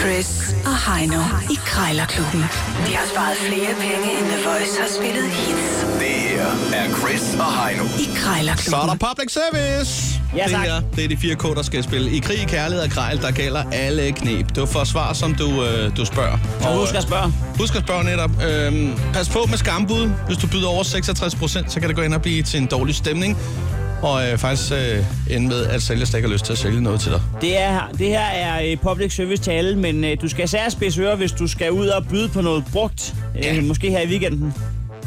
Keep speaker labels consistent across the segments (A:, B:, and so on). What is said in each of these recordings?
A: Chris og Heino i Krejlerklubben. De har sparet flere penge, end The Voice har spillet hits
B: Det her er Chris og Heino.
A: i
C: Så er
A: Krejlerklubben.
C: der public service.
D: Ja,
C: det
D: tak.
C: her, det er de fire K'er, der skal spille. I krig, kærlighed og krejl, der gælder alle knep. Du får svar, som du, øh, du spørger.
D: Og husk at spørge.
C: øh, husk at spørge netop. Øh, pas på med skambud. Hvis du byder over 66 procent, så kan det gå ind og blive til en dårlig stemning. Og øh, faktisk øh, ende med, at sælger slet ikke har lyst til at sælge noget til dig.
D: Det, er, det her er øh, public service til alle, men øh, du skal især spidse ører, hvis du skal ud og byde på noget brugt.
C: Ja.
D: Øh, måske her i weekenden.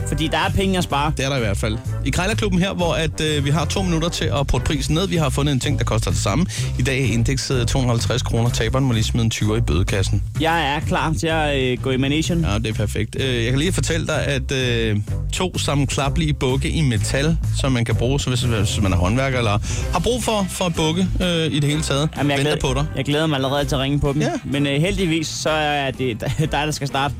D: Fordi der er penge at spare.
C: Det er der i hvert fald. I Krejlerklubben her, hvor at, øh, vi har to minutter til at putte prisen ned. Vi har fundet en ting, der koster det samme. I dag er indekset 250 kroner. Taberen må lige smide en 20 i bødekassen.
D: Jeg er klar til at øh, gå i manation.
C: Ja, det er perfekt. Øh, Jeg kan lige fortælle dig, at øh, to sammenklappelige bukke i metal, som man kan bruge, så hvis, hvis man er håndværker eller har brug for, for at bukke øh, i det hele taget, Jamen,
D: jeg,
C: venter på dig.
D: jeg glæder mig allerede til at ringe på dem.
C: Ja.
D: Men øh, heldigvis, så er det dig, der skal starte.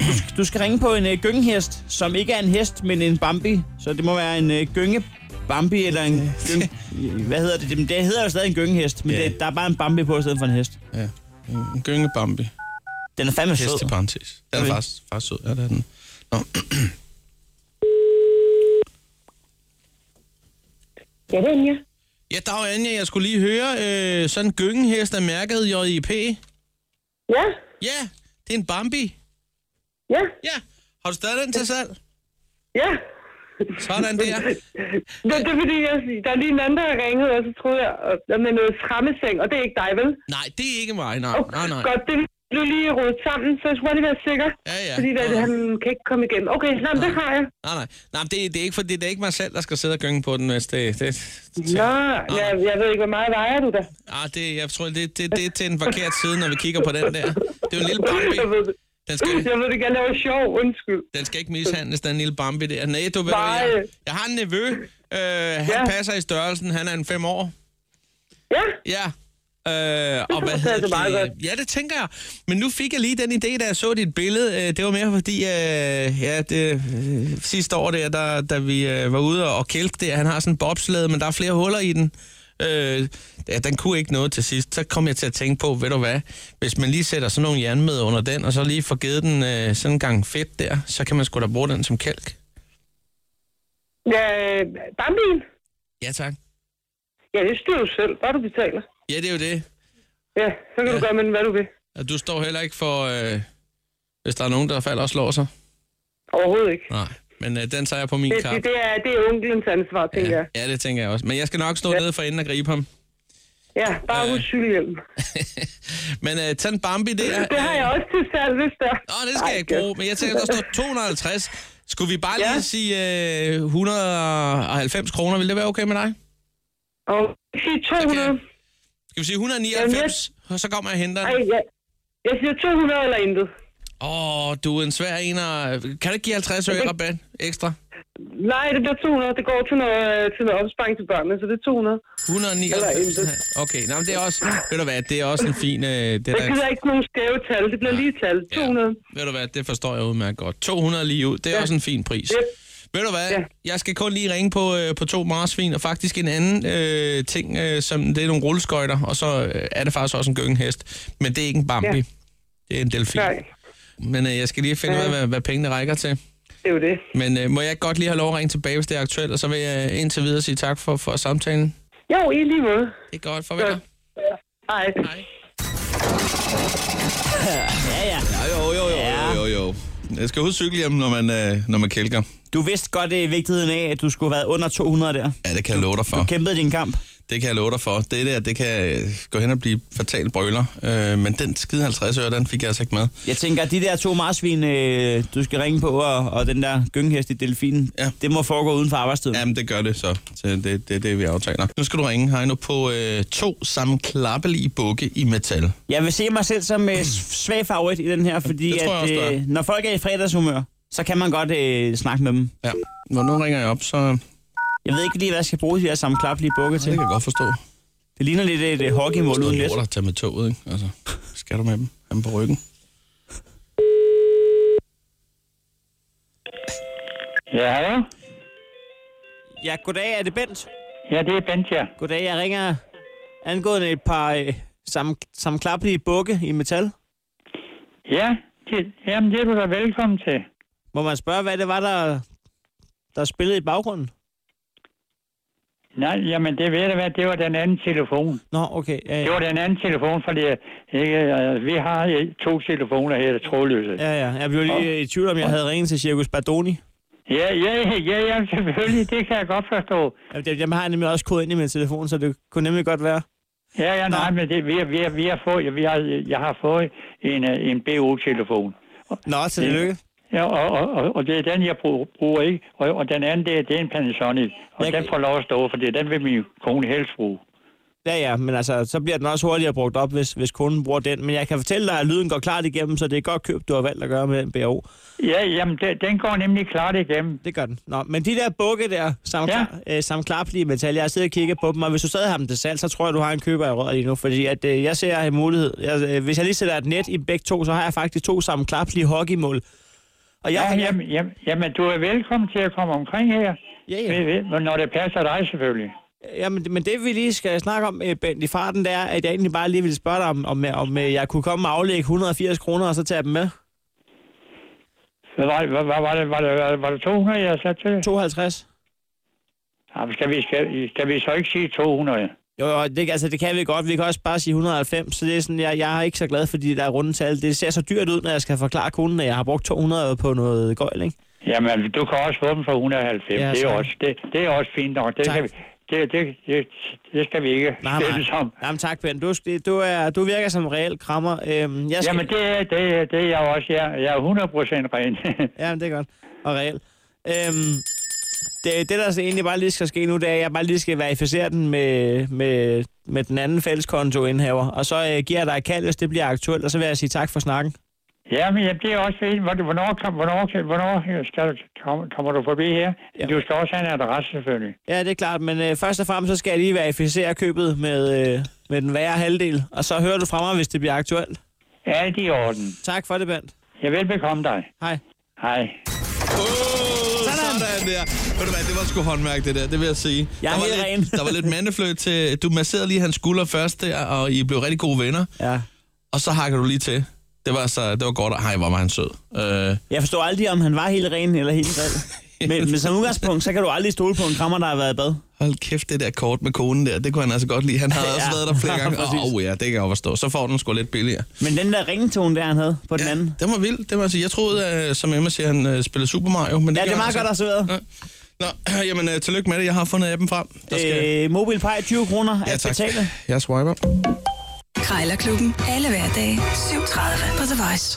D: Du skal, du skal ringe på en øh, gyngehest, som ikke er en hest, men en bambi. Så det må være en øh, gynge bambi eller en gyng... Hvad hedder det? Det det hedder jo stadig en gyngehest, men
C: Ja.
D: det, der er bare en bambi på i stedet for en hest.
C: Ja. En gyngebambi.
D: Den er fandme
C: Hest i
D: sød.
C: parentes. Den er
D: Okay.
C: faktisk, faktisk sød. Ja, det er den. Nå.
E: Ja, det er Anja.
C: Ja, dag Anja, jeg skulle lige høre, øh, sådan en gyngehest er mærket JIP.
E: Ja,
C: Ja, det er en bambi.
E: ja,
C: Ja, har du stadig den til salg?
E: ja.
C: Sådan der.
E: Det, det er fordi, jeg, der er lige en anden, der har ringet, og så troede jeg, at jeg med noget fremmeseng, og det er ikke dig, vel?
C: Nej, det er ikke mig, nej,
E: Okay,
C: nej, nej.
E: Godt, det blev lige rodet sammen, så jeg skulle bare lige være sikker.
C: Ja, ja.
E: Fordi at,
C: Ja.
E: han kan ikke komme igennem. Okay, nej, det har jeg.
C: Nej, nej. nej men det, det, er ikke, for, det, det er ikke mig selv, der skal sidde og gynge på den, hvis det... det, det
E: Nå, jeg, jeg ved ikke, hvor meget vejer du da?
C: Ah, det, jeg tror, det, det, det er til en forkert side, når vi kigger på den der. Det er jo en lille
E: Jeg
C: Bambi.
E: ved det.
C: Den skal,
E: Jeg ved det, jeg laver sjov, undskyld.
C: den skal ikke mishandles, den lille Bambi der. Nej, du ved,
E: Nej.
C: jeg, jeg har en nevø. Øh, han
E: Ja.
C: passer i størrelsen. Han er en fem år.
E: Ja,
C: Ja. Øh, og hvad
E: passer
C: hedder
E: altså meget
C: det? Ja, det tænker jeg. Men nu fik jeg lige den idé, da jeg så dit billede. Øh, Det var mere fordi, øh, ja, det, øh, sidste år der, der da vi øh, var ude og- og kælke der, han har sådan en bobslede, men der er flere huller i den. Øh, ja, den kunne ikke noget til sidst. Så kom jeg til at tænke på, ved du hvad, hvis man lige sætter sådan nogle jernmed under den, og så lige får givet den øh, sådan en gang fedt der, så kan man sgu da bruge den som kælk.
E: ja Bambien.
C: Ja, tak.
E: Ja, det styrer du selv, bare du betaler.
C: Ja, det er jo det.
E: Ja, så kan
C: Ja.
E: du gøre med den, hvad du vil.
C: Og du står heller ikke for, øh, hvis der er nogen, der falder og slår sig.
E: Overhovedet ikke.
C: Nej, men øh, den tager jeg på min
E: Det,
C: kap.
E: det, det, er, det er onkelens ansvar, tænker
C: ja.
E: jeg.
C: ja, det tænker jeg også. Men jeg skal nok stå ja. nede for enden og gribe ham.
E: Ja, bare husk cykelhjelm.
C: Men øh, tag en Bambi der.
E: Det har jeg også til salg, hvis der.
C: Nå, det skal jeg ikke bruge, men jeg tænker, der står 250. Skulle vi bare lige
E: Ja.
C: sige øh, 190 kroner? Vil det være okay med dig?
E: Og sige 200.
C: Okay. Skal vi sige 199? Og så kommer jeg og henter
E: Ej,
C: den.
E: ja. Jeg siger 200 eller intet.
C: Åh, du er en svær en. Og... Kan du ikke give 50 øre i rabat ekstra?
E: Nej, det bliver 200. Det går til noget, øh, til noget opsparing til børnene, så det er 200. Eller
C: 199?
E: intet.
C: Okay, nå, men det er også... Ved du hvad, det er også en fin... Øh, det
E: Så
C: der...
E: gider jeg ikke nogen skæve tal. Det bliver lige tal. 200.
C: Ved du hvad, det forstår jeg udmærket godt. 200 lige ud, det er ja. også en fin pris.
E: Ja.
C: Ved du hvad, ja.
E: Ja.
C: jeg skal kun lige ringe på, øh, på to marsvin, og faktisk en anden øh, ting, øh, som det er nogle rulleskøjter, og så øh, er det faktisk også en gyngehest. Men det er ikke en Bambi, ja.
E: Ja.
C: det er en delfin.
E: Nej,
C: Men øh, jeg skal lige finde ud af, hvad, hvad pengene rækker til.
E: det er jo det.
C: Men øh, må jeg godt lige have lov at ringe tilbage, hvis det er aktuelt, og så vil jeg indtil videre sige tak for, for samtalen.
E: Jo, i lige måde.
C: Det er godt, farvel. Ja.
E: Ja. Ej.
C: Hej.
D: Ja, ja.
C: Jo, jo, jo,
D: Ja.
C: jo, jo. Jeg skal huske cykelhjem, når man, øh, når man kælker.
D: Du vidste godt det er vigtigheden af, at du skulle have været under 200 der.
C: Ja, det kan jeg love dig for.
D: Du kæmpede din kamp.
C: Det kan jeg love dig for. Det der, det kan øh, gå hen og blive fatalt brøler. Øh, men den skide 50 øre, den fik jeg altså ikke med.
D: Jeg tænker, at de der to marsvin, øh, du skal ringe på, og, og den der gyngehest i delfinen,
C: Ja.
D: ja. det må foregå uden for arbejdstiden. Ja.
C: Jamen, det gør det så. så det, det er det, vi aftaler. Nu skal du ringe, Heino, på øh, to sammenklappelige bukke i metal.
D: Jeg vil se mig selv som øh, s- svag favorit i den her, fordi
C: Det tror jeg
D: at,
C: også, du er.
D: øh, når folk er i fredagshumør, så kan man godt øh, snakke med dem.
C: Ja. Når nu ringer jeg op, så
D: Jeg ved ikke lige, hvad jeg skal bruge de her sammenklappelige bukke
C: det
D: til.
C: kan jeg godt forstå.
D: Det ligner lidt et øh, hockeymål uden
C: Det
D: net.
C: er at tage med toget, ikke? Altså, skal du med dem? Ham på ryggen.
F: Ja, hallo?
D: Ja, goddag, er det Bent?
F: Ja, det er Bent, ja.
D: Goddag, jeg ringer angående et par øh, sammen, sammenklappelige bukke i metal.
F: Ja, det, jamen det er du da velkommen til.
D: Må man spørge, hvad det var, der, der spillede i baggrunden?
F: Nej, jamen det ved du hvad, det var den anden telefon.
D: Nå, okay. Ja,
F: Det
D: ja,
F: var den anden telefon, fordi ikke, øh, vi har øh, to telefoner her, der er trådløse.
D: ja. ja. Jeg blev lige i tvivl, om jeg havde ringet til Circus Bardoni.
F: Ja, ja, ja, ja, selvfølgelig, det kan jeg godt forstå.
D: Jamen, det- Dem har jeg nemlig også kodet ind i min telefon, så det kunne nemlig godt være.
F: Ja, ja, nej, men det, vi, har- vi, har- vi har fået, vi har, jeg har fået en, øh, en BO-telefon.
D: Nå, tillykke.
F: Ja, og, og, og, og det er den, jeg bruger, bruger ikke. Og, og den anden, det er, det er en Panasonic. Og
D: Jeg-
F: jeg... den får lov at stå, for det, den vil min kone helst bruge.
D: Ja, ja, men altså, så bliver den også hurtigere brugt op, hvis, hvis kunden bruger den. Men jeg kan fortælle dig, at lyden går klart igennem, så det er et godt køb, du har valgt at gøre med den BAO.
F: Ja, jamen, den, den går nemlig klart igennem.
D: Det gør den. Nå, men de der bukke der, samt, ja.
F: Ja.
D: øh, samt klarplige metal, jeg har siddet og kigget på dem, og hvis du stadig har dem til salg, så tror jeg, du har en køber i røret lige nu, fordi at, øh, jeg ser en mulighed. Jeg, øh, hvis jeg lige sætter et net i begge to, så har jeg faktisk to sammen klarplige hockeymål. Og jeg,
F: Ja,
D: ja,
F: jamen, jamen, jamen, du er velkommen til at komme omkring her.
D: Ja, ja.
F: Ved- ved- men Når det passer dig, selvfølgelig.
D: ja, men, men det vi lige skal snakke om, øh, Bent, i farten, det er, at jeg egentlig bare lige ville spørge dig, om, om, om øh, jeg kunne komme og aflægge 180 kroner, og så tage dem med.
F: Hvad var, hvad, hvad var, det, var, det, var, det, var det 200, jeg sagde til?
D: 52.
F: Jamen, skal, vi, skal, skal vi så ikke sige 200?
D: Jo, jo, det, altså, det kan vi godt. Vi kan også bare sige 190, så det er sådan, jeg, jeg er ikke så glad, fordi der er rundetal. Det ser så dyrt ud, når jeg skal forklare kunden, at jeg har brugt 200 på noget gøjl, ikke?
F: Jamen, du kan også få dem for 190.
D: Ja,
F: Ja, det, er
D: tak.
F: også, det, det er også fint nok. Det,
D: Tak.
F: skal vi, det, det, det, det skal vi ikke
D: Nej,
F: skændes
D: nej.
F: om.
D: Jamen, tak, Ben. Du, du, er, du virker som en reel krammer. Øhm, jeg skal,
F: Jamen, det er, det, er- det er jeg også. Jeg, jeg er 100% ren.
D: Jamen, det er godt. Og reel. Øhm, det, det, der så egentlig bare lige skal ske nu, det er, at jeg bare lige skal verificere den med, med, med den anden fælleskontoindhaver. Og så øh, giver jeg dig et kald, hvis det bliver aktuelt, og så vil jeg sige tak for snakken.
F: jamen, jamen, det er også fint. Hvor- Hvornår, kom- hvornår, kan- hvornår skal, du- kom, kommer du forbi her?
D: Jamen.
F: Du skal også have en adresse, selvfølgelig.
D: Ja, det er klart, men øh, først og fremmest så skal jeg lige verificere købet med, øh, med den værre halvdel, og så hører du fra mig, hvis det bliver aktuelt.
F: Alt i orden.
D: Tak for det, Bent.
F: Jeg vil bekomme dig.
D: Hej.
F: Hej.
C: Sådan. Sådan der. Ved du hvad, det var sgu håndværk, det der. Det vil jeg sige.
D: Jeg er
C: der, var
D: helt ren.
C: lidt, der var lidt mandefløjt til... Du masserede lige hans skulder først der, og I blev rigtig gode venner.
D: Ja.
C: Og så hakker du lige til. Det var, så, det var godt, og hej, hvor var han sød. Øh,
D: Jeg forstår aldrig, om han var helt ren eller helt grim. Men, men som udgangspunkt, så kan du aldrig stole på en krammer, der har været i bad.
C: hold kæft, det der kort med konen der, det kunne han altså godt lide. Han har også
D: Ja,
C: været der flere gange.
D: præcis.
C: Åh oh, ja, det kan jeg godt forstå. Så får den sgu lidt billigere.
D: Men den der ringetone, der han havde på den anden.
C: Det var vildt. Det var, altså, jeg troede, at, som Emma siger, han øh, spillede Super Mario. Men det
D: Ja, det er
C: gjorde han
D: meget godt
C: altså.
D: observeret.
C: Nå, jamen, øh, tillykke med det. Jeg har fundet appen frem. Der skal...
D: Øh, MobilePay 20 kroner at betale.
C: Jeg swiper.
A: Krejlerklubben. Alle hverdage. 7.30 på The Voice.